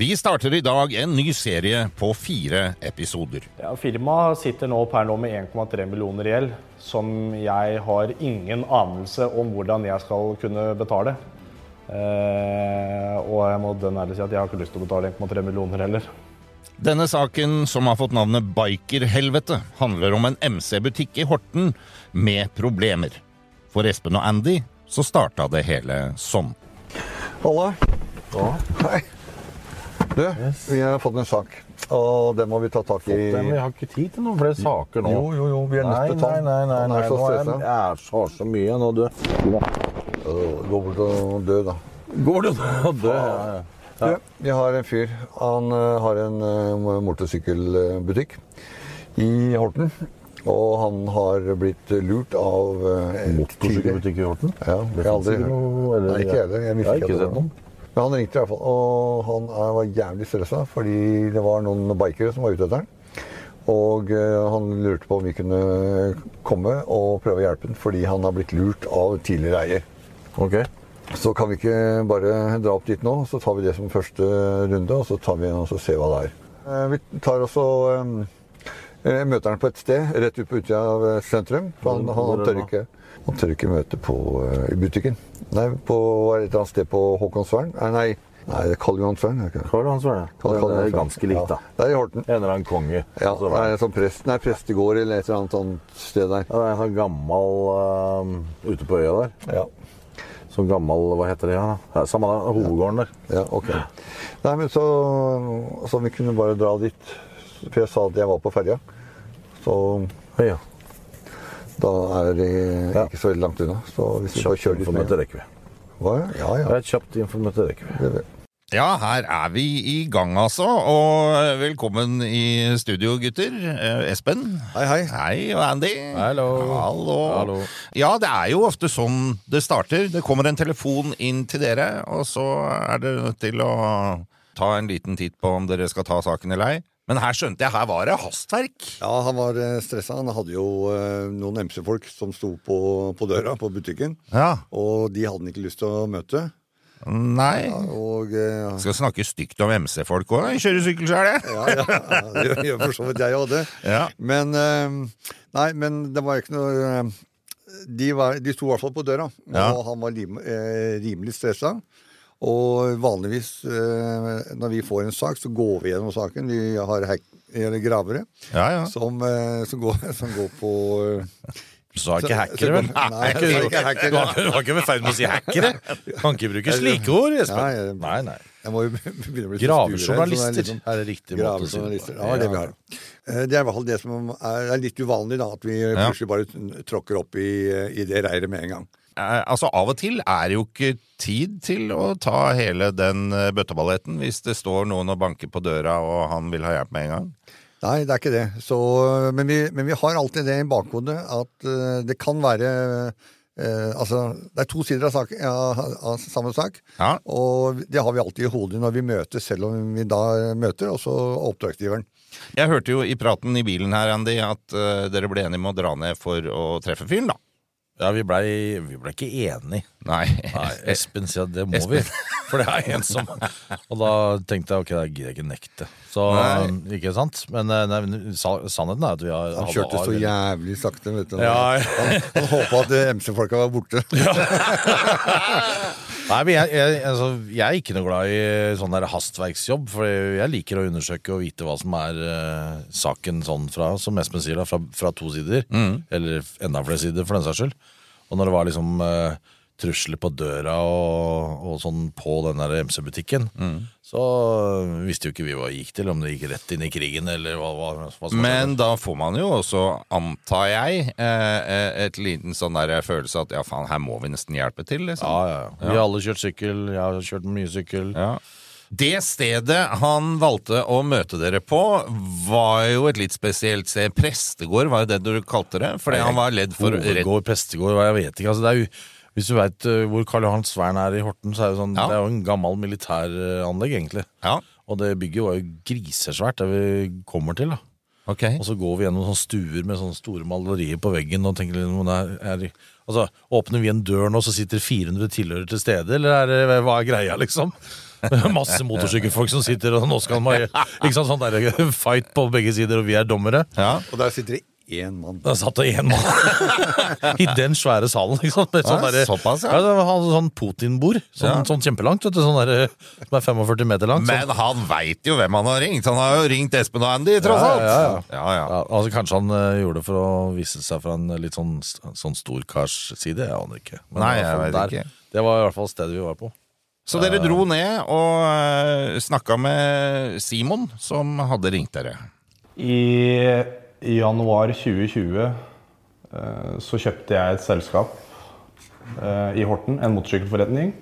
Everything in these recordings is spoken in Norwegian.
Vi starter i dag en ny serie på fire episoder. Ja, Firmaet sitter nå per nå med 1,3 millioner i gjeld, som jeg har ingen anelse om hvordan jeg skal kunne betale. Eh, og jeg må den ærlig si at jeg har ikke lyst til å betale 1,3 millioner heller. Denne saken, som har fått navnet Bikerhelvete, handler om en MC-butikk i Horten med problemer. For Espen og Andy så starta det hele sånn. Halla. Hei. Du, vi har fått en sak, og den må vi ta tak i. Nei, men jeg har ikke tid til noen flere saker nå. Jo, jo, jo, vi er nødt til å ta Nei, den. nei, nei, Han nei. er så nå er jeg, stressa. jeg er så, så mye nå, du. Øh, Gå bort og dø, da. Går det nå? Du, ja, ja. Du, vi har en fyr. Han øh, har en øh, motorsykkelbutikk i Horten. Og han har blitt lurt av øh, en tyver. Motorsykkelbutikk i Horten? Ja, jeg har aldri finnes ikke hørt noe, eller- Nei, ikke jeg heller. Jeg Jeg har visste ikke at det sett var noen. Men han ringte i hvert fall, og han er- var jævlig stressa fordi det var noen bikere som var ute etter han. Og eh, han lurte på om vi kunne komme og prøve å hjelpe han fordi han har blitt lurt av tidligere eier. Ok. Så kan vi ikke bare dra opp dit nå, så tar vi det som første runde, og så tar vi og så ser hva det er. Eh, Vi tar også eh, eh, møter han på et sted rett ut på utsida av eh, sentrum. For han, han, han, tør ikke, han tør ikke møte på eh, i butikken. Nei, på et eller annet sted på Håkonsvern. Nei, nei, nei det er Karl Johansvern. er det ikke? Karl Hans Verne. Karl- Karl Det er Johansvern. ganske likt, da. Ja, det er i Horten. En eller annen konge. Ja, Altså, det er en sånn prest, nei, prestegård eller et eller annet sånt sted der. ja, det er en sånn gammel eh, ute på øya der. Ja. Sånn gammel, hva heter det? Ja, ja, samme der, hovedgården der. Ja, ok. Nei, men så, så vi kunne bare dra dit. For jeg sa at jeg var på ferja. Så Høya. da er det Ja. ikke så veldig langt unna. Så hvis vi bare Kjapt kjører litt informøte mer rekker vi. Hva? Ja, Det ja. er et kjapt informøte rekker vi. Ja, her er vi i gang, altså. Og velkommen i studio, gutter. Eh, Espen. Hei, hei. Hei, og Andy. Hallo. Hallo. Hallo. Ja, det er jo ofte sånn det starter. Det kommer en telefon inn til dere, og så er dere nødt til å ta en liten titt på om dere skal ta saken eller ei. Men her skjønte jeg, her var det hastverk. Ja, han var stressa. Han hadde jo eh, noen MC-folk som sto på, på døra på butikken. Ja. Og de hadde han ikke lyst til å møte. Nei. Og eh, Skal snakke stygt om MC-folk òg. Kjøre sykkel sjøl, jeg. ja, ja, ja, det gjør- gjør for så vidt jeg hadde. Ja. Men eh, Nei, men det var ikke noe eh, De, var, de sto i hvert fall på døra, Ja. og han var lim, eh, rimelig stressa. Og vanligvis eh, når vi får en sak, så går vi gjennom saken. Vi har hack, eller gravere Ja, ja. som, eh, som, går, som går på eh, Så er Så- det ikke hackere, vel? så- Nei, Er så er det ikke hackere. Du var ikke- du var ikke i ferd med å si hackere? Kan ikke bruke slike ord, Nei, jeg- Espen. Nei, nei. Jeg må jo begynne å bli så stur her, så det Gravejournalister er liksom- er det riktig måte å si det Gravejournalister. på. Ja, det er det vi har. Eh, Det er i hvert fall det som er, er litt uvanlig, da. At vi plutselig bare t- tråkker opp i, i det reiret med en gang. Eh, Altså, Av og til er det jo ikke tid til å ta hele den eh, bøtteballetten hvis det står noen og banker på døra og han vil ha hjelp med en gang. Nei, det er ikke det. Så, men, vi, men vi har alltid det i bakhodet at eh, det kan være eh, altså, Det er to sider av, sak, ja, av samme sak, Ja. og det har vi alltid i hodet når vi møter, selv om vi da møter også oppdragsgiveren. Jeg hørte jo i praten i bilen her, Andy, at eh, dere ble enige om å dra ned for å treffe fyren, da. Ja, vi blei vi ble ikke enige. Nei. Nei, Espen sier at det må vi. For det er en som Og da tenkte jeg ok, da gidder jeg ikke nekte. Så ikke sant? Men eh, nei, men sa- sannheten er at vi har Han kjørte har- så jævlig sakte, vet du. Ja, ja. Han, han håpa at eh, MC-folka var borte. Nei, men jeg, jeg, altså, jeg er ikke noe glad i sånn der hastverksjobb, for jeg liker å undersøke og vite hva som er eh, saken sånn fra, som Espen sier, da, fra, fra to sider. Eller f- enda flere sider, for den saks skyld. Og når det var liksom eh, trusler på døra og, og sånn på den der MC-butikken, så eh, visste jo ikke vi hva det gikk til, om det gikk rett inn i krigen eller hva, hva, hva som Men da får man jo også, antar jeg, eh, eh, et liten sånn der følelse at ja, faen, her må vi nesten hjelpe til, liksom. Ja, ja, ja. Vi har alle kjørt sykkel, jeg har kjørt mye sykkel. Ja. Det stedet han valgte å møte dere på, var jo et litt spesielt sted. Prestegård var jo det du kalte det, fordi han var ledd for rett Hovedgård, Prestegård, hva jeg vet ikke. Altså, det er jo, hvis du veit hvor Karl Johan Svern er i Horten, så er det, jo sånn, Ja. det er jo en gammel militæranlegg, egentlig. Ja, Og det bygget var jo grisesvært, det vi kommer til. da ok. Og så går vi gjennom sånne stuer med sånne store malerier på veggen og tenker litt om det er, er Altså, åpner vi en dør nå, så sitter 400 tilhørere til stede, eller er det, hva er greia, liksom? Masse motorsykkelfolk som sitter og nå skal man Ikke sant, sånn der fight på begge sider, og vi er dommere. Ja. Og der sitter det én mann. Da satt det én mann i den svære salen. Ikke sant? Med sånn Ja, derre- såpass, ja. ja. det var han sånn Putin-bord. Sånn, Ja. sånn kjempelangt, vet du. Sånn derre som er 45 meter langt. sånn. Men han veit jo hvem han har ringt. Han har jo ringt Espen og Andy, tross Ja, alt. ja, ja. Ja, ja. Ja, altså Kanskje han eh, gjorde det for å vise seg fra en litt sånn, sånn storkars side. Jeg aner ikke. Men Nei, i hvert fall jeg vet ikke. Det var i hvert fall stedet vi var på. Så dere dro ned og snakka med Simon, som hadde ringt dere. I januar 2020 eh, så kjøpte jeg et selskap eh, i Horten, en motorsykkelforretning.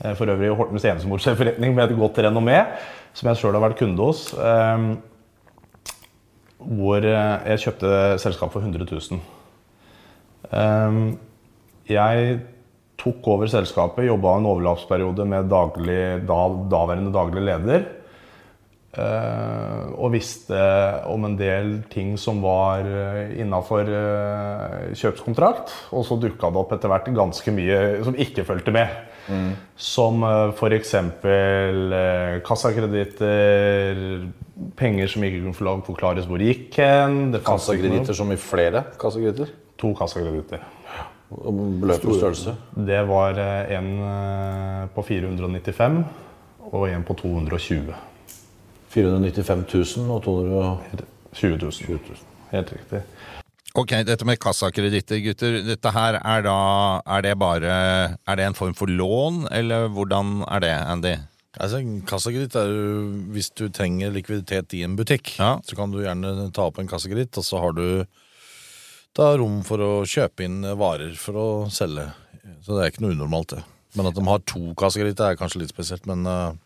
Eh, For øvrig Hortens eneste motorsykkelforretning med et godt renommé, som jeg sjøl har vært kunde hos. eh, Hvor eh, jeg kjøpte selskap for 100 000. Eh, Jeg tok over selskapet, jobba en overlappsperiode med daglig, da, daværende daglig leder. Eh, og visste om en del ting som var innafor kjøpskontrakt. Og så dukka det opp etter hvert ganske mye som ikke fulgte med. Som uh, f.eks. Uh, kassakreditter, penger som ikke kunne få lov- forklares hvor gikk hen. det fantes ikke noe- Kassakreditter som i flere kassakreditter? To kassakreditter. Og Beløp og størrelse? Det var eh, en eh, på 495 og en på 220. 495 000 og 200 20 000. Helt riktig. Ok, dette med kassakreditter, gutter. Dette her er da Er det bare Er det en form for lån, eller hvordan er det, Andy? Altså, Kassakreditt er jo hvis du trenger likviditet i en butikk. Ja. Så kan du gjerne ta opp en kassakreditt, og så har du da rom for å kjøpe inn eh, varer for å selge. Så det er ikke noe unormalt, det. Men at de har to kassakreditter, er kanskje litt spesielt, men eh,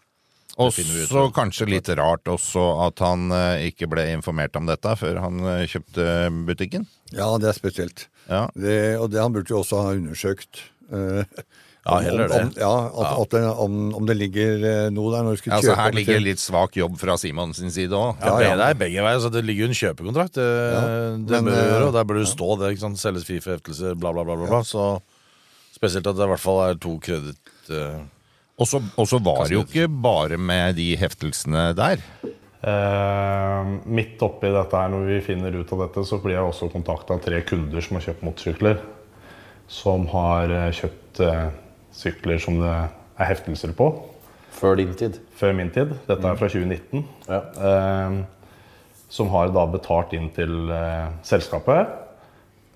Og finner vi ut så av. kanskje litt rart også at han eh, ikke ble informert om dette før han eh, kjøpte butikken. Ja, det er spesielt. Ja. Det, og det han burde jo også ha undersøkt. eh, Ja, heller om, det. Om, ja, at, At det, om, om det ligger eh, noe der når du skulle Altså, kjøpe her om ligger til- litt svak jobb fra Simon sin side òg. Ja, ja. Det er begge veier, så det ligger jo en kjøpekontrakt. Det, det men, bør du gjøre, eh, og der bør du stå det. ikke sant? Selges fri for heftelse, bla, bla, bla. bla, bla. Så spesielt at det i hvert fall er to kreditt... eh, Og så og så var det jo ikke bare med de heftelsene der. Eh, midt oppi dette her, når vi finner ut av dette, så blir jeg også kontakta av tre kunder som har kjøpt motorsykler. Som har eh, kjøpt eh, sykler som det er heftelser på, før din tid. Mm. før min tid. Dette er fra 2019. Ja. Eh, som har da betalt inn til eh, selskapet.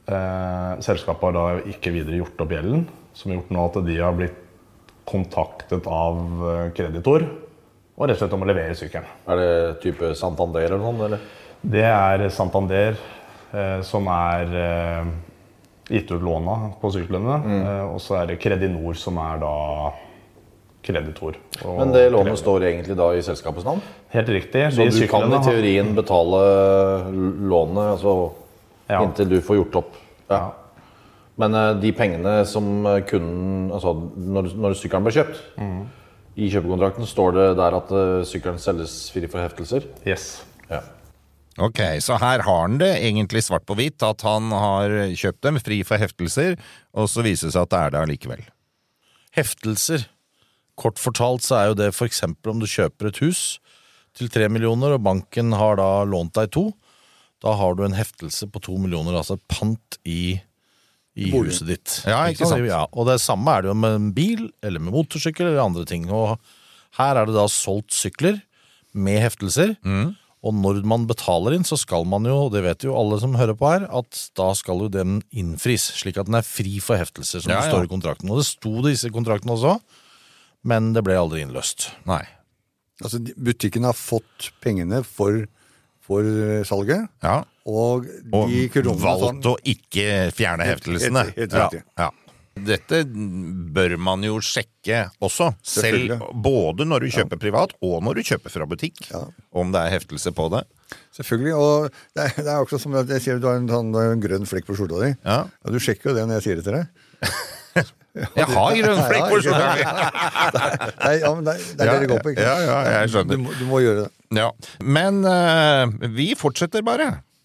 Eh, selskapet har da ikke videre gjort opp gjelden, som har gjort nå at de har blitt kontaktet av eh, kreditor og rett og slett om å levere sykkelen. Er det type Santander eller noe sånt? Eller? Det er Santander eh, som er eh, gitt ut låna på syklene. Mm. Eh, og så er det Kredinor som er da kreditor. og Men det kreditor. lånet står egentlig da i selskapets navn? Helt riktig. Så de du kan i syklene har- teorien betale lånet altså, Ja. inntil du får gjort opp? ja. Men eh, de pengene som eh, kunden Altså når, når sykkelen ble kjøpt Mm. I kjøpekontrakten står det der at eh, sykkelen selges fri for heftelser. Yes. Ja. Ok, så her har han det egentlig svart på hvitt at han har kjøpt dem fri for heftelser, og så viser det seg at det er det allikevel. heftelser. Kort fortalt så er jo det f.eks. om du kjøper et hus til tre millioner, og banken har da lånt deg to. Da har du en heftelse på to millioner, altså et pant i, i huset ditt. Ja, ikke sant? Ja, og det samme er det jo med en bil, eller med motorsykkel, eller andre ting. Og her er det da solgt sykler med heftelser. Mm. Og når man betaler inn, så skal man jo, og det vet jo alle som hører på her, at da skal jo den innfris, slik at den er fri for heftelser, som Ja, det ja. står i kontrakten. Og det sto det i disse kontraktene også, men det ble aldri innløst. Nei. Altså, de- butikken har fått pengene for, for eh, salget, Ja, og og de kronene valgt å ikke fjerne heftelsene. sånn. helt- helt Ja, riktig. ja. Dette bør man jo sjekke også, selv Selvfølgelig. både når du kjøper privat og når du kjøper fra butikk, om det er heftelse på det. Selvfølgelig. Og det er, det er akkurat som at jeg sier du har en, sånn, eh, grønn flekk på skjorta di. Ja. Du sjekker jo det når jeg sier det til deg. Jeg har grønn flekk på Ja, ja, skjorta! Nei, ja, men det, er- det er det det går på, ikke Ja, ja, jeg Du, skjønner. må- du må gjøre det. Ja. Men eh, vi fortsetter bare.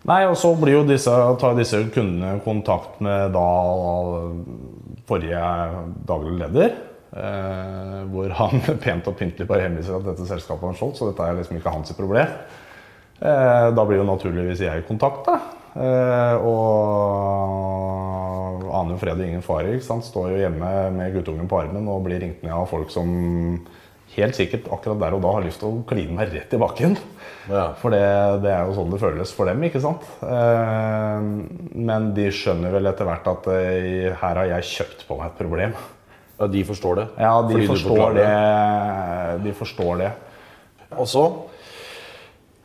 Nei, og så blir jo disse, tar disse kundene kontakt med da forrige daglig leder. Eh, hvor han pent og pyntelig bare henviser at dette selskapet har solgt, så dette er liksom ikke hans problem. Eh, da blir jo naturligvis jeg i kontakt, da. Eh, og aner jo fred og ingen fare. ikke sant? Står jo hjemme med guttungen på armen og blir ringt ned av folk som helt sikkert akkurat der og da har lyst til å kline meg rett i bakken. Ja. For det, det er jo sånn det føles for dem, ikke sant? Eh, men de skjønner vel etter hvert at eh, her har jeg kjøpt på meg et problem. Ja, de forstår det. Ja, de Fordi du forstår forklarer det. De forstår det. Og så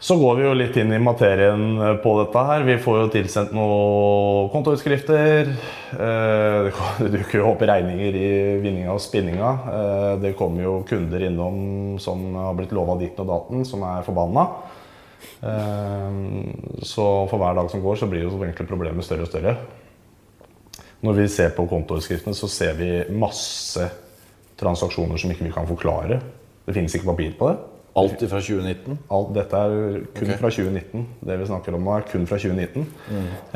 Så går vi jo litt inn i materien eh, på dette her. Vi får jo tilsendt noen kontoutskrifter. Eh, Det kom- det dukker jo opp regninger i vinninga og spinninga. Eh, Det kommer jo kunder innom som har blitt lova ditten og datten, som er forbanna. Eh, Så for hver dag som går, så blir jo egentlig problemet større og større. Når vi ser på kontoutskriftene, så ser vi masse transaksjoner som ikke vi kan forklare. Det finnes ikke papir på det. alt ifra 2019. Alt dette er kun fra 2019. Det vi snakker om nå, er kun fra 2019.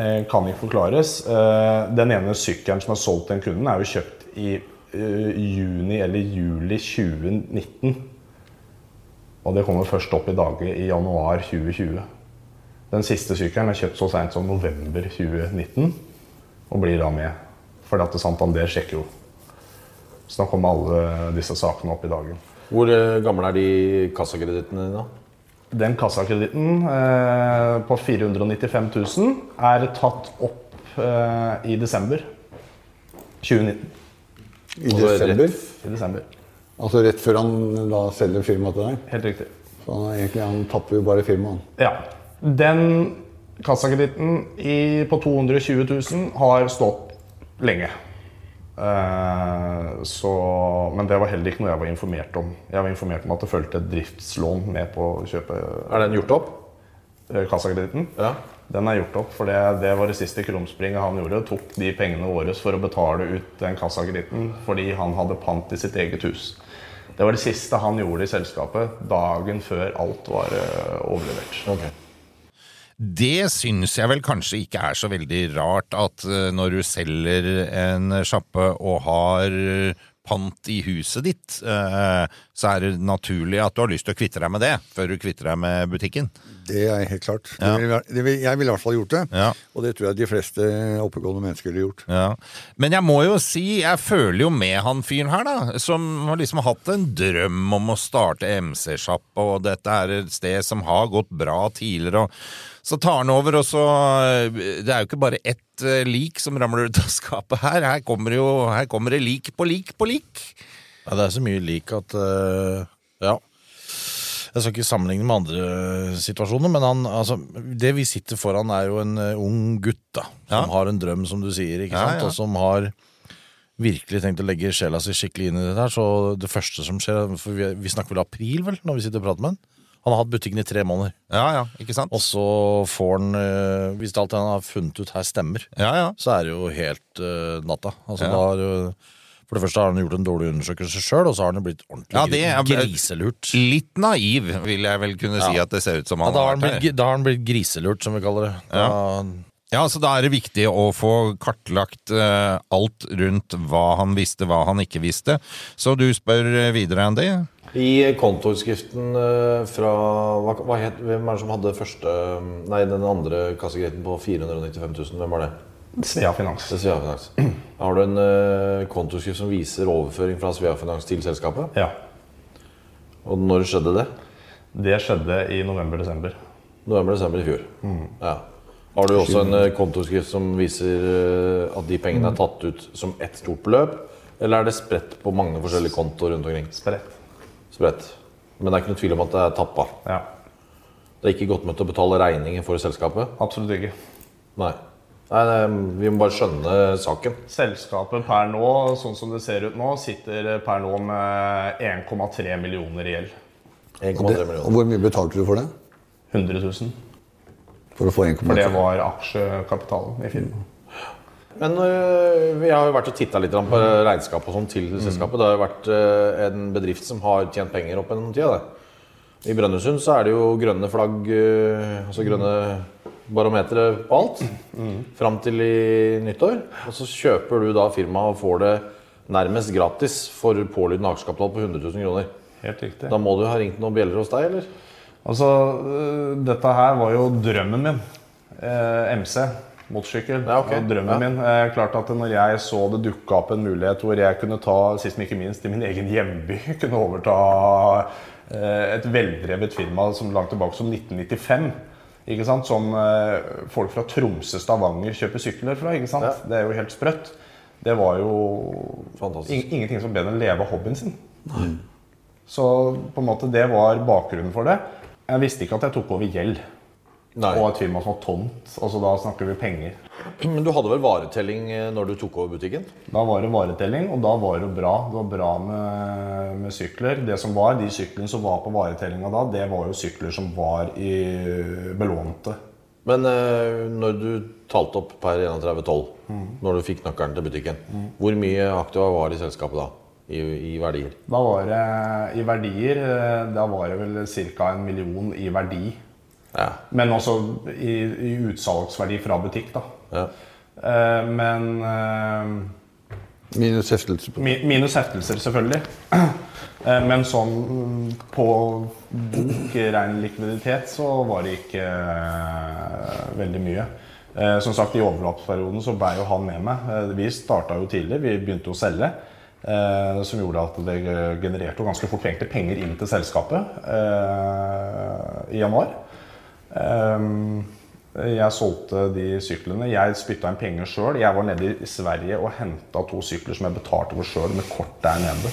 Eh, kan ikke forklares. Eh, den ene sykkelen som er solgt til den kunden, er jo kjøpt i eh, juni eller juli 2019. Og det kommer først opp i dage i januar 2020. Den siste sykkelen er kjøpt så seint som november 2019, og blir da med. Fordi at Santander sjekker jo. Så da kommer alle disse sakene opp i dagen. Hvor eh, gamle er de kassakredittene dine? Den kassakreditten eh, på 495 000 er tatt opp eh, i desember 2019. I Og det er desember. I desember, Altså rett før han da selger firmaet til deg. Helt riktig. Så han, er egentlig, han tapper jo bare firmaet. han. Ja. Den kassakreditten i- på 220 000 har stått lenge. Eh, så, men det var heller ikke noe jeg var informert om. Jeg var informert om at det fulgte et driftslån med på å kjøpe Er den gjort opp? eh, kassakreditten. Ja. Den er gjort opp, for det, det var det siste krumspringet han gjorde. Tok de pengene våre for å betale ut den kassakreditten fordi han hadde pant i sitt eget hus. Det var det siste han gjorde i selskapet dagen før alt var eh, overlevert. Det syns jeg vel kanskje ikke er så veldig rart at eh, når du selger en sjappe og har eh, pant i huset ditt, eh, så er det naturlig at du har lyst til å kvitte deg med det før du kvitter deg med butikken. Det er helt klart. Ja. Det vil, være- det vil, jeg ville i hvert fall gjort det. Ja. Og det tror jeg de fleste oppegående mennesker ville gjort. Ja. Men jeg må jo si, jeg føler jo med han fyren her, da. Som har liksom hatt en drøm om å starte MC-sjappe, og dette er et sted som har gått bra tidligere. Og så tar han over, og så eh, Det er jo ikke bare ett eh, lik som ramler ut av skapet her. Her kommer jo her kommer det lik på lik på lik. Ja, det er så mye lik at eh, Ja. Jeg skal ikke sammenligne med andre eh, situasjoner, men han, altså, det vi sitter foran, er jo en eh, ung gutt da, som Ja. har en drøm, som du sier, ikke Ja, sant? ja. og som har virkelig tenkt å legge sjela si skikkelig inn i det der. Så det første som skjer for Vi, vi snakker vel april, vel, når vi sitter og prater med han? Han har hatt butikken i tre måneder, Ja, ja, ikke sant? og så får han eh, Hvis alt han har funnet ut her, stemmer, Ja, ja. så er det jo helt eh, natta. Ja. Altså, da har, jo- for det første har han gjort en dårlig undersøkelse sjøl, og så har han jo blitt ordentlig Ja, det er- griselurt. Litt naiv, vil jeg vel kunne si at det ser ut som Ja, han da, har har han vært blitt, her. gi- da har han blitt griselurt, som vi kaller det. Da, Ja, så da er det viktig å få kartlagt eh, alt rundt hva han visste, hva han ikke visste. Så du spør eh, videre, Andy? I kontoutskriften eh, fra hva, hva mm, het, Hvem er det som hadde første Nei, den andre kassakreditten på 495 000? Hvem var det? Svea Finans. Det er Svea Finans. Har du en eh, kontoskrift som viser overføring fra Svea Finans til selskapet? Ja. Og når skjedde det? Det skjedde i november-desember. November-desember i fjor. Ja. Har du også en eh, kontoskrift som viser eh, at de pengene er tatt ut som ett stort beløp? Eller er det spredt på mange forskjellige kontoer rundt omkring? Spredt. Spredt. Men det er ikke noe tvil om at det er tappa. Ja. Det er ikke godt med til å betale regningen for selskapet? Absolutt ikke. Nei. Nei, det, Vi må bare skjønne saken. Selskapet per nå, sånn som det ser ut nå, sitter per nå med 1,3 millioner i gjeld. 1,3 Det, og millioner. hvor mye betalte du for det? 100 000. For å få For det 1,3? var aksjekapitalen i firmaet. Men øh, vi har jo vært og titta litt på regnskap og sånn til selskapet. Det har jo vært øh, en bedrift som har tjent penger opp gjennom tida. det. I Brønnøysund så er det jo grønne flagg, øh, altså grønne barometere på alt. Fram til i nyttår. Og så kjøper du da firmaet og får det nærmest gratis for pålydende aksjekapital på 100 000 kroner. Helt riktig. Da må du ha ringt noen bjeller hos deg, eller? Altså, øh, dette her var jo drømmen min. Eh, MC, motorsykkel, Ja, ok. var drømmen min. Eh, klart at når jeg så det dukka opp en mulighet hvor jeg kunne ta, sist men ikke minst, i min egen hjemby, kunne overta eh, et veldrevet firma som langt tilbake som 1995. Ikke sant? Som eh, folk fra Tromsø, Stavanger kjøper sykler fra. ikke sant? Det er jo helt sprøtt. Det var jo Fantastisk. ing- ingenting som bedre enn å leve av hobbyen sin. Så på en måte det var bakgrunnen for det. Jeg visste ikke at jeg tok over gjeld. Nei. Og et firma som var tomt. Altså da snakker vi penger. Men du hadde vel varetelling øh, når du tok over butikken? Da var det varetelling, og da var det bra. Det var bra med, med sykler. Det som var, De syklene som var på varetellinga da, det var jo sykler som var i øh, belånte. Men eh, når du talte opp per 31.12, Mhm. når du fikk nøkkelen til butikken, hvor mye aktiva var i selskapet da? I, i verdier? Da var det øh, i verdier eh, Da var det vel ca. en million i verdi. Ja. Men også i, i utsalgsverdi fra butikk, da. ja. Eh, Men eh, Minus heftelse. på- Mi- Minus heftelser, selvfølgelig. Eh, Men sånn mm, på bok, ren likviditet, så var det ikke eh, veldig mye. Eh, Som sagt, i overlappsperioden så ble jo han med meg. Eh, Vi starta jo tidlig, vi begynte å selge. eh, Som gjorde at det genererte jo ganske fort egentlig penger inn til selskapet eh, i januar. Ehm, Jeg solgte de syklene. Jeg spytta inn penger sjøl. Jeg var nede i Sverige og henta to sykler som jeg betalte for sjøl, med kort der nede.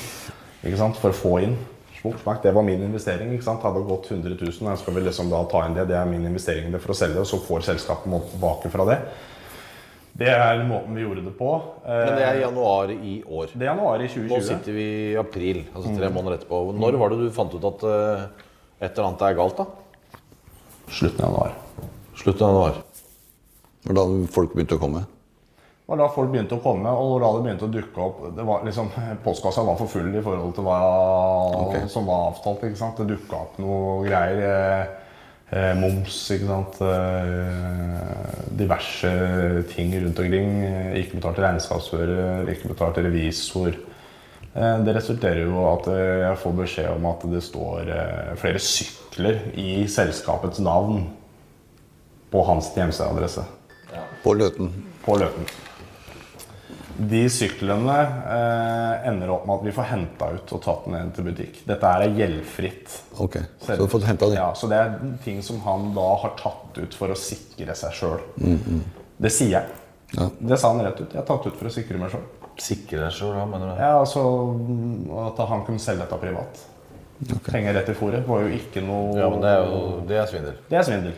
Ikke sant? For å få inn. Smakk, smakk. Det var min investering. Ikke sant? Hadde det gått 100 000, og jeg skal vel liksom da ta inn det. Det er min investering det for å selge, og så får selskapet noe tilbake fra det. Det er måten vi gjorde det på. Eh, Men det er januar i år. Det er januar i Mhm. Nå 2020. sitter vi i april, altså tre måneder etterpå. Når var det du fant ut at eh, et eller annet er galt, da? Slutten av januar. Slutten av januar. Det var da folk begynte å komme. Det var da folk begynte å komme, og da det begynte å dukke opp det var liksom, Postkassa var for full i forhold til hva som var avtalt. ikke sant? Det dukka opp noe greier. eh, Eh, moms, ikke sant. Eh, diverse ting rundt omkring. Eh, Ikke betalte regnskapsfører, ikke betalte revisor. Eh, det resulterer jo at eh, jeg får beskjed om at det står eh, flere sykler i selskapets navn på hans hjemstedadresse På Løten. på Løten. De syklene eh, ender opp med at vi får henta ut og tatt ned til butikk. Dette her er gjeldfritt. Ok, så du har fått henta det. Ja, så det er ting som han da har tatt ut for å sikre seg sjøl. Mm, Det sier jeg. Ja. Det sa han rett ut. Jeg har tatt ut for å sikre meg sjøl. Sikre deg sjøl, hva mener du? Ja, altså, mm, at han kunne selge dette privat. Penger rett i fòret var jo ikke noe Ja, men det er jo det er svindel. det er svindel.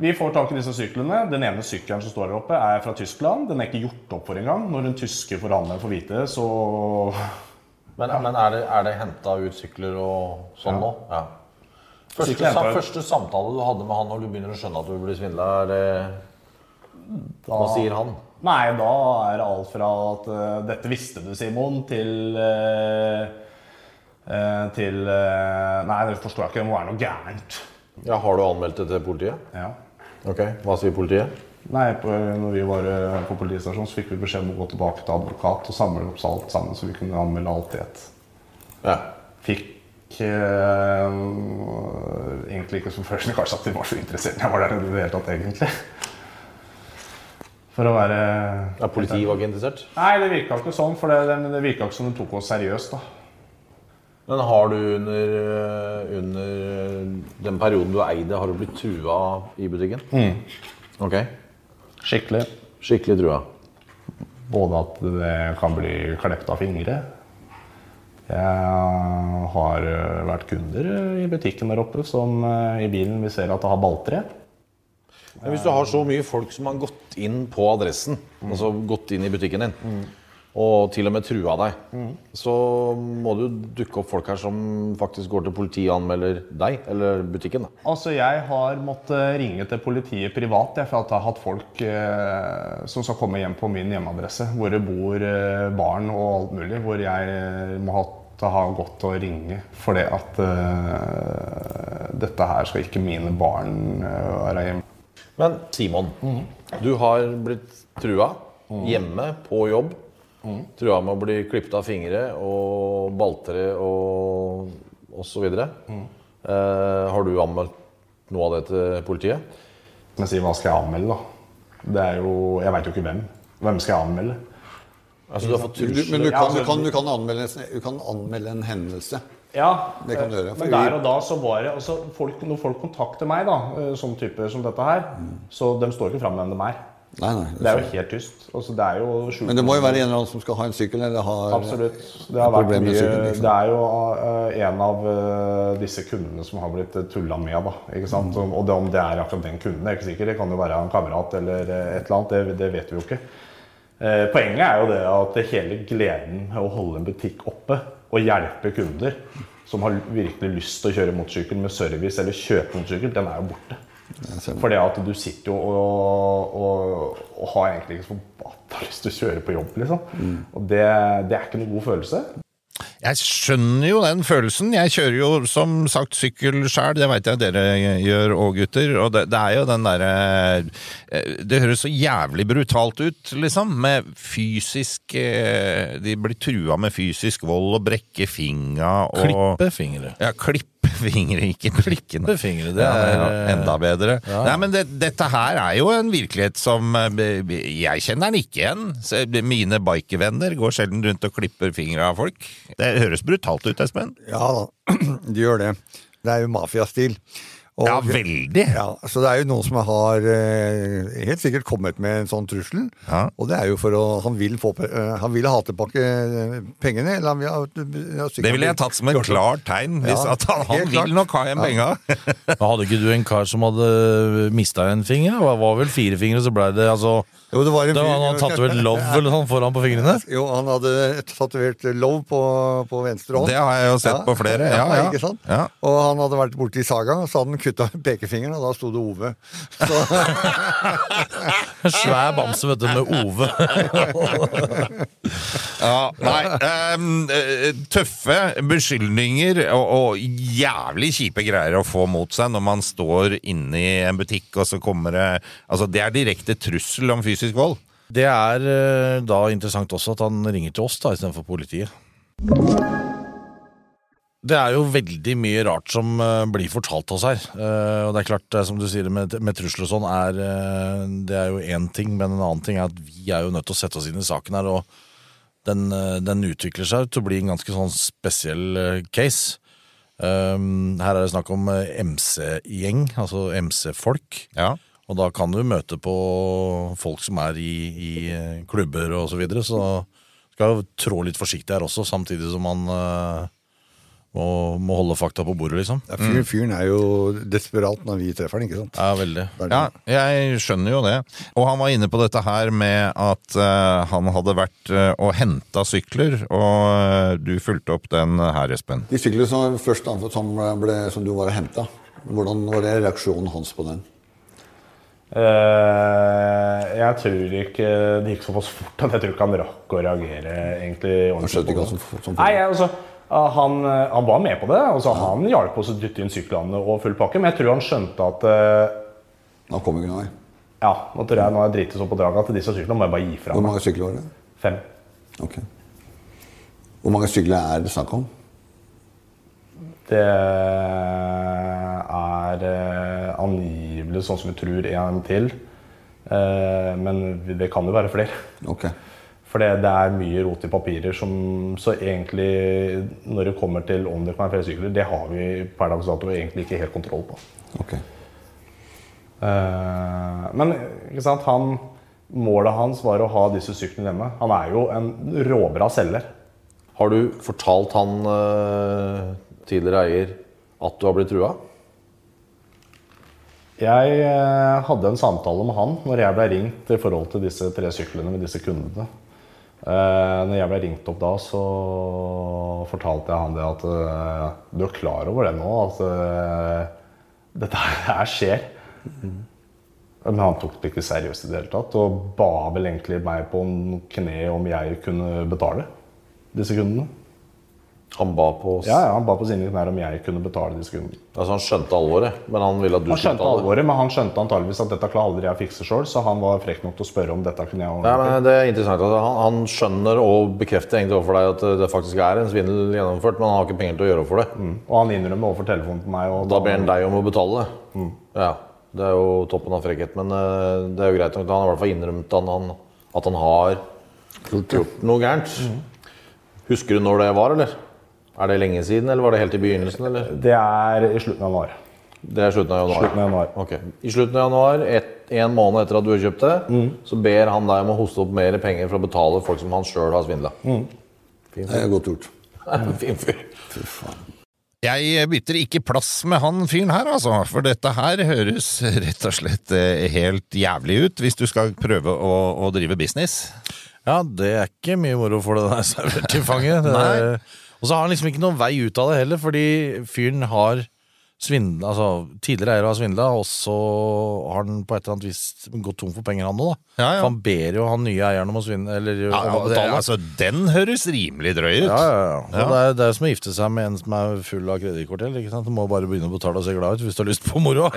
Vi får tak i disse syklene. Den ene sykkelen som står der oppe, er fra Tyskland. Den er ikke gjort opp for engang. Når en tyske forhandler får vite det, så Men, men er det, er det henta ut sykler og sånn nå? Ja. Sykler Første, hentet sam, ut. første samtale du hadde med han når du begynner å skjønne at du blir svindla, er det Hva sier han? Nei, da er det alt fra at eh, 'dette visste du, Simon', til eh, eh, Til eh, Nei, det forstår jeg ikke. Det må være noe gærent. Ja, Har du anmeldt det til politiet? Ja. Ok, Hva sier politiet? Nei, på, når vi var eh, på politistasjonen, så fikk vi beskjed om å gå tilbake til advokat og samle opp alt sammen, så vi kunne anmelde alt i ett. Ja. fikk eh, egentlig ikke som første kanskje at de var så interessert når jeg var der i det hele tatt, egentlig. For For å være Ja, Politiet var ikke interessert? Nei, det virka ikke sånn, for det, det, det virka ikke som de tok oss seriøst. da. Men har du under, eh, under den perioden du eide, har du blitt trua i butikken? Ok. Mm. Skikkelig. Skikkelig trua. Både at det kan bli klept av fingre. Jeg har eh, vært kunder i butikken der oppe som eh, i bilen vi ser at det har balltre. Men hvis du har så mye folk som har gått inn på adressen, altså gått inn i butikken din, og til og med trua deg, så må det jo dukke opp folk her som faktisk går til politiet og anmelder deg, eller butikken. da. Altså, jeg har måttet ringe til politiet privat jeg, for at jeg har hatt folk eh, som skal komme hjem på min hjemmeadresse, hvor det bor eh, barn og alt mulig, hvor jeg eh, må ha, ha gått og ringe fordi at eh, dette her skal ikke mine barn eh, være hjemme. Men Simon, du har blitt trua hjemme, på jobb. Trua med å bli klippet av fingre og balltre og, og så videre. Eh, har du anmeldt noe av det til politiet? Men si, hva skal jeg anmelde, da? Det er jo, jeg veit jo ikke hvem. Hvem skal jeg anmelde? Altså, du har fått Du, men trusler? du kan, du kan, du kan, anmelde, du kan anmelde en hendelse. Ja, eh, Det kan du gjøre, men for der vi- og da så var det altså folk, Når folk kontakter meg, da, eh, sånn type som dette her, Mm. så de står ikke fram med hvem de er. Nei, nei. Det er jo helt tyst. Altså, det er jo skjult. Men det må jo være en eller annen som skal ha en sykkel, eller har Absolutt. Det, har vært Problemet mye, med sykkel, liksom. det er jo eh, en av eh, disse kundene som har blitt tulla med. Da, ikke Mm. sant? Og- Og det, om det er akkurat den kunden, er jeg ikke sikker. Det kan jo være en kamerat eller eh, et eller annet. Det, det vet vi jo ikke. Eh, Poenget er jo det at det hele gleden med å holde en butikk oppe og hjelpe kunder som har virkelig lyst til å kjøre motorsykkel med service eller kjøpe motorsykkel, den er jo borte. Fordi at du sitter jo og, og, og har egentlig ikke så forbatta lyst til å kjøre på jobb, liksom. Mm. Og det, det er ikke noen god følelse. Jeg skjønner jo den følelsen. Jeg kjører jo som sagt sykkel sjæl, det veit jeg dere eh, gjør òg, gutter. Og det, det er jo den derre eh, Det høres så jævlig brutalt ut, liksom. Med fysisk eh, De blir trua med fysisk vold og brekke fingra og Klippe fingre. Ja, klippe fingre, ikke blikkene. Klippe fingre, det Ja, ja, er, eh, enda bedre. ja. Nei, men det, dette her er jo en virkelighet som eh, be- be- Jeg kjenner den ikke igjen. Så Mine bikervenner går sjelden rundt og klipper fingra av folk. Det høres brutalt ut, Espen. Ja da, de gjør det. Det er jo mafiastil. Og- Ja, veldig. Ja, så det er jo noen som har eh, helt sikkert kommet med en sånn trussel. Ja. Og det er jo for å Han vil, få, pe- eh, han vil ha tilbake eh, pengene. Eller han vil ha, ja, sikkert- Det ville jeg tatt som et klart tegn. Hvis Ja, at han, han helt klart. vil nok ha igjen penga. Men Hadde ikke du en kar som hadde mista en finger? Det var vel fire fingre, så blei det altså Jo, det var en det var, Han fyr- tatt vel love eller sånn foran på fingrene? Jo, han hadde tatovert love på, på venstre hånd. Det har jeg jo sett på flere. Ja, ja. Ikke sant? Ja. Og han hadde vært borti Saga, så hadde han kutta pekefingeren, og da sto det Ove. Så, En svær bamse, vet du, med Ove. Ja, nei, ehm, eh, tøffe beskyldninger og, og jævlig kjipe greier å få mot seg når man står inne i en butikk, og så kommer det Altså, det er direkte trussel om fysisk vold. Det er eh, da interessant også at han ringer til oss da, istedenfor politiet. Det er jo veldig mye rart som eh, blir fortalt oss her. Eh, og det er klart, det er som du sier med, med trusler og sånn, er, eh, det er jo én ting. Men en annen ting er at vi er jo nødt til å sette oss inn i saken her. Og den, eh, den utvikler seg til å bli en ganske sånn spesiell eh, case. Um, her er det snakk om eh, MC-gjeng, altså MC-folk. Ja. Og da kan du møte på folk som er i, i eh, klubber og så videre, så skal jo trå litt forsiktig her også, samtidig som man eh, må, må holde fakta på bordet, liksom. Ja, fyren, fyren er jo desperat når vi treffer han, ikke sant? Ja, veldig. Det er det. Ja, jeg skjønner jo det. Og han var inne på dette her med at eh, han hadde vært eh, og henta sykler, og eh, du fulgte opp den her, Espen. De syklene som først anført som, eh, ble, som du var og henta, hvordan var det reaksjonen hans på den? Eh, jeg tror ikke Det gikk såpass fort at jeg tror ikke han rakk å reagere egentlig Han ordentlig. skjønte ikke på hva som, det. som Nei, jeg, altså, ah, han, eh, han var med på det. Altså, Han hjalp oss å dytte inn syklene og full pakke, men jeg tror han skjønte at eh, Han kom ikke noen vei. ja, nå tror jeg nå har jeg driti så på draget at disse syklene må jeg bare gi fra Hvor meg. mange sykler var det? Fem. Ok. Hvor mange sykler er det snakk om? Det er eh, angivelig, sånn som vi tror, en til. Eh, Eh, Men det kan jo være flere. Ok. For det, det er mye rot i papirer som Så egentlig, når det kommer til om det kan være flere sykler, det har vi per dags dato egentlig ikke helt kontroll på. ok. Eh, men ikke sant, han, målet hans var å ha disse syklene hjemme. Han er jo en råbra selger. Har du fortalt han eh, tidligere eier at du har blitt trua? Jeg eh, hadde en samtale med han når jeg ble ringt i forhold til disse tre syklene med disse kundene. Eh, når jeg ble ringt opp da, så fortalte jeg han det at eh, du er klar over det nå, at eh, dette her skjer. Men han tok det ikke seriøst i det hele tatt og ba vel egentlig meg på en kne om jeg kunne betale disse kundene. Han ba på oss. Ja, ja, Han ba på sine knær om jeg kunne betale disse kundene. Altså, han skjønte alvoret, men han ville at du Han skulle skjønte ta det. alvoret, men han skjønte antageligvis at dette klarer aldri jeg fikse sjøl, så han var frekk nok til å spørre om dette kunne jeg Nei, ordne. men det er interessant. Altså, han, han skjønner og bekrefter egentlig overfor deg at eh, det faktisk er en svindel gjennomført, men han har ikke penger til å gjøre opp for det. Og han innrømmer overfor telefonen til meg. Og Da ber han deg om å betale. Mm. Ja, Det er jo toppen av frekkhet, men eh, det er jo greit nok. Han har i hvert fall innrømt han, han, at han har gjort noe gærent. Mm. Husker du når det var, eller? Er det lenge siden, eller var det helt i begynnelsen? eller? Det er i slutten av januar. Det er slutten av januar. Slutten av januar. Ok. I slutten av januar, et, en måned etter at du har kjøpt det, Mm. så ber han deg om å hoste opp mer penger for å betale folk som han sjøl har svindla. Mm. Det er godt gjort. fin fyr. Jeg eh, bytter ikke plass med han fyren her, altså, for dette her høres rett og slett eh, helt jævlig ut hvis du skal prøve å, å drive business. Ja, det er ikke mye moro for det der servert i fanget. Det Nei. er- Og så har han liksom ikke noen vei ut av det heller, fordi fyren har svindla, altså tidligere eier har svindla, og så har han på et eller annet vis gått tom for penger, han nå, da. Ja, ja. For han ber jo han nye eieren om å svindle, eller om å det, betale. altså, den høres rimelig drøy ut. ja, ja, ja. Ja. Og Det, er, det er jo som å gifte seg med en som er full av kredittkort. eller, ikke sant? Du må bare begynne å betale og se glad ut hvis du har lyst på moro.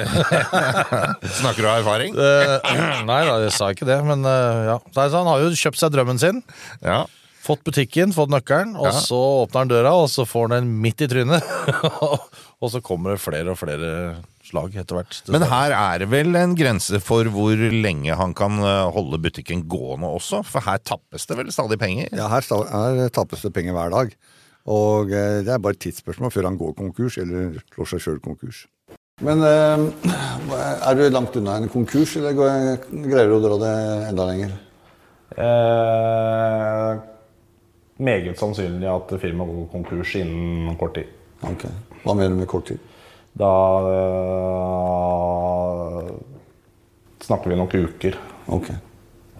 Snakker du av erfaring? Eh, Nei da, jeg sa ikke det, men eh, ja. Så han har jo kjøpt seg drømmen sin. Ja. Fått butikken, fått nøkkelen, og så åpner han døra, og så får han den midt i trynet. og så kommer det flere og flere slag etter hvert. Men her er det vel en grense for hvor lenge han kan eh, holde butikken gående også, for her tappes det vel stadig penger? Ja, her, sta- her tappes det penger hver dag. Og eh, det er bare et tidsspørsmål før han går konkurs, eller slår seg sjøl konkurs. Men eh, er du langt unna en konkurs, eller går- greier du å dra det enda lenger? Eh, meget sannsynlig at firmaet går konkurs innen kort tid. Ok. Hva mener du med kort tid? Da eh, snakker vi nok uker. Ok.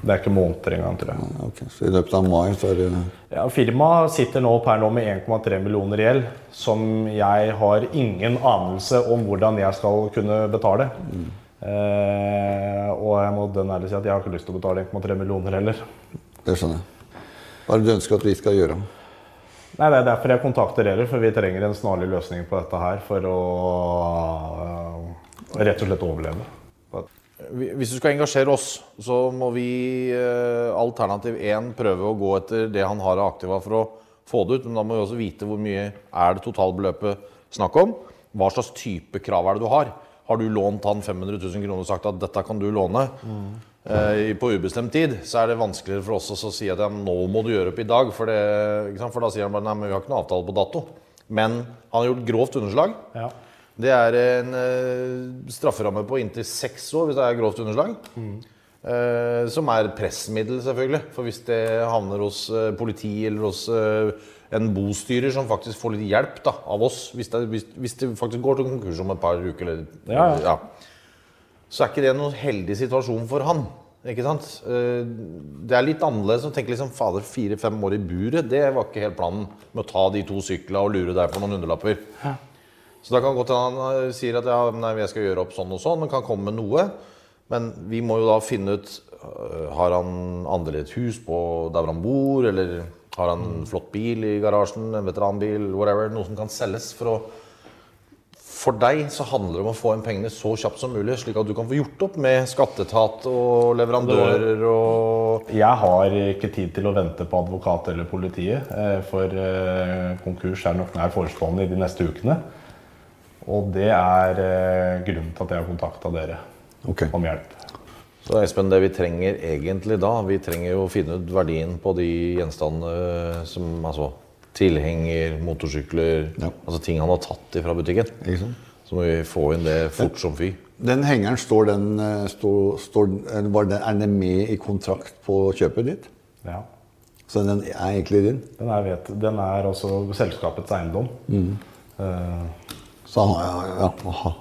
Det er ikke måneder engang, tror jeg. ok. Så i løpet av mai så er det Ja, Firmaet sitter nå per nå med 1,3 millioner i gjeld, som jeg har ingen anelse om hvordan jeg skal kunne betale. Eh, og jeg må dønn ærlig si at jeg har ikke lyst til å betale 1,3 millioner heller. Det skjønner jeg. Hva er det du ønsker at vi skal gjøre? Nei, Det er derfor jeg kontakter dere, for vi trenger en snarlig løsning på dette her for å eh, rett og slett overleve. Hvis du skal engasjere oss, så må vi eh, alternativ 1 prøve å gå etter det han har av aktiva for å få det ut. Men da må vi også vite hvor mye er det totalbeløpet snakk om. Hva slags type krav er det du har? Har du lånt han 500 000 kroner og sagt at dette kan du låne eh, i- på ubestemt tid, så er det vanskeligere for oss også å si at ja, men nå må du gjøre opp i dag. For, det, ikke sant? for da sier han bare nei, men vi har ikke noe avtale på dato. Men han har gjort grovt underslag. Ja. Det er en eh, strafferamme på inntil seks år hvis det er grovt underslag. Eh, som er pressmiddel, selvfølgelig. For hvis det havner hos eh, politi eller hos eh, en bostyrer som faktisk får litt hjelp da, av oss, hvis det, hvis, hvis det faktisk går til konkurs om et par uker, eller, Ja, ja. så er ikke det noen heldig situasjon for han. Ikke sant? Eh, Det er litt annerledes å tenke liksom, fader, fire-fem år i buret, det var ikke helt planen med å ta de to syklene og lure deg for noen hundrelapper. Så da kan godt hende han eh, sier at ja, nei, jeg skal gjøre opp sånn og sånn, men kan komme med noe. Men vi må jo da finne ut øh, Har han andel i et hus på der hvor han bor, eller har han en flott bil i garasjen, en veteranbil, whatever, noe som kan selges for å for deg så handler det om å få inn pengene så kjapt som mulig, slik at du kan få gjort opp med skatteetat og leverandører og Jeg har ikke tid til å vente på advokat eller politiet, eh, for eh, konkurs er nok nær forestående i de neste ukene. Og det er eh, grunnen til at jeg har kontakta dere Ok. om hjelp. Så Espen, det vi trenger egentlig da, vi trenger jo å finne ut verdien på de gjenstandene som altså, tilhenger, motorsykler, Ja. altså ting han har tatt ifra butikken. Ikke sant? Så må vi få inn det fort som fy. Den hengeren, står den, eh, står, står, eller var den, er den med i kontrakt på kjøpet ditt? Ja. Så den er egentlig din? Den er, vet, den er også selskapets eiendom. Eh, Så han, ja, ja, aha.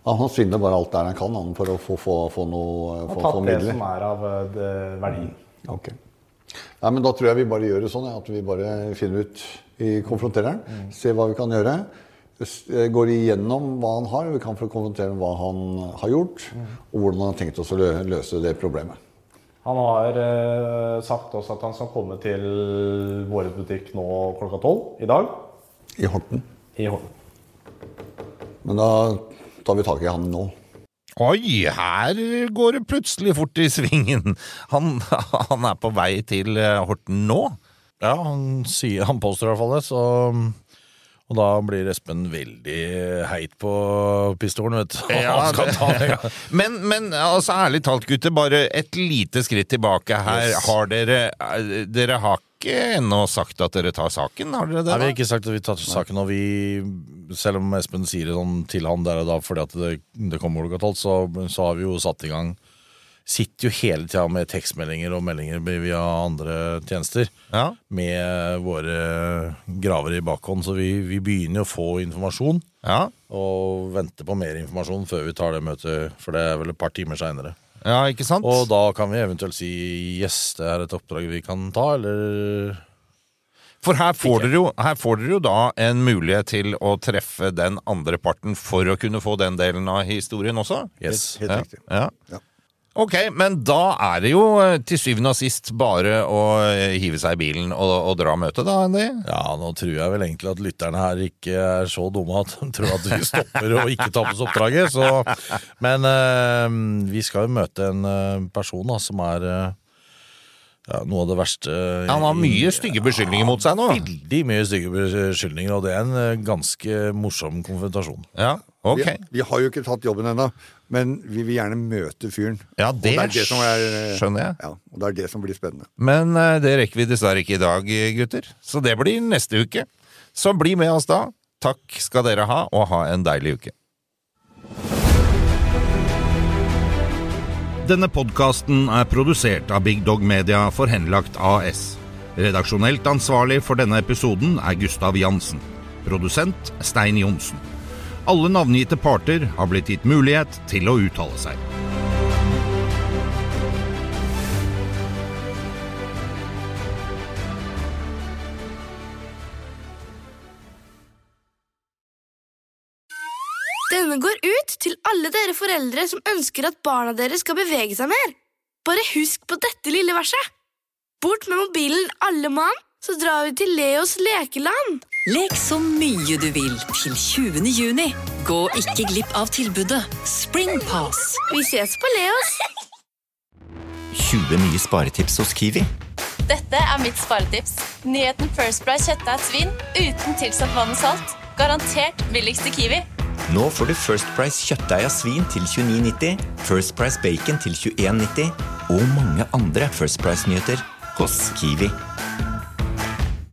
Ja, han svindler bare alt der han kan han, for å få, få, få noe eh, og få, tatt få det midler. som er av eh, det, verdi. Ok. Nei, men da tror jeg vi bare gjør det sånn, ja, at vi bare finner ut i konfrontereren, ser hva vi kan gjøre, s- eh, går igjennom hva han har, vi kan få konfrontere hva han har gjort, og hvordan han har tenkt oss å lø- løse det problemet. Han har eh, sagt også at han skal komme til vår butikk nå klokka tolv i dag. I Horten. I Horten. Men da tar vi tak i han nå. Oi, her går det plutselig fort i svingen. Han, han er på vei til eh, Horten nå. Ja, han, sier, han påstår i hvert fall det, så og da blir Espen veldig heit på pistolen, vet du. Han skal ta det, ja. Men, men altså, ærlig talt, gutter, bare et lite skritt tilbake her. Yes. Har dere eh, Dere har ikke ennå sagt at dere tar saken, har dere det? Nei, vi da? har ikke sagt at vi tar saken, og vi, selv om Espen sier det sånn til han der og da fordi at det, det kommer klokka tolv, så, så har vi jo satt i gang Sitter jo hele tida med tekstmeldinger og meldinger via andre tjenester Ja. med våre gravere i bakhånd, så vi, vi begynner å få informasjon. Ja. Og venter på mer informasjon før vi tar det møtet, for det er vel et par timer seinere. ja, ikke sant? Og da kan vi eventuelt si yes, det er et oppdrag vi kan ta, eller For her får, dere jo, her får dere jo da en mulighet til å treffe den andre parten for å kunne få den delen av historien også. yes. Helt Ja, riktig. ja. Ja. Ok, men da er det jo eh, til syvende og sist bare å eh, hive seg i bilen og, og dra møtet, da, Andy? Ja, nå tror jeg vel egentlig at lytterne her ikke er så dumme at de tror at vi stopper og ikke tar på oss oppdraget. Så. Men eh, vi skal jo møte en eh, person da, som er eh, ja, noe av det verste eh, Han har mye stygge beskyldninger mot seg nå. Veldig mye stygge beskyldninger, og det er en eh, ganske morsom konfrontasjon. Ja, ok. Vi, vi har jo ikke tatt jobben ennå, men vi vil gjerne møte fyren. Ja, Og det, er det som er, eh, skjønner jeg. Ja, og det er det som blir spennende. Men eh, det rekker vi dessverre ikke i dag, gutter. Så det blir neste uke. Så bli med oss da. Takk skal dere ha, og ha en deilig uke. Denne podkasten er produsert av Big Dog Media for Henlagt AS. Redaksjonelt ansvarlig for denne episoden er Gustav Jansen. Produsent Stein Johnsen. Alle navngitte parter har blitt gitt mulighet til å uttale seg. Denne går ut til alle dere foreldre som ønsker at barna deres skal bevege seg mer. Bare husk på dette lille verset. Bort med mobilen alle mann, så drar vi til Leos lekeland. Lek så mye du vil til 20. juni. Gå ikke glipp av tilbudet Springpass. Vi ses på Leos. 20 nye sparetips hos Kiwi. Dette er mitt sparetips. Nyheten First Price kjøttdeig og svin uten tilsatt vann og salt. Garantert billigst i Kiwi. Nå får du First Price kjøttdeig av svin til 29,90, First Price bacon til 21,90 og mange andre First Price-nyheter hos Kiwi.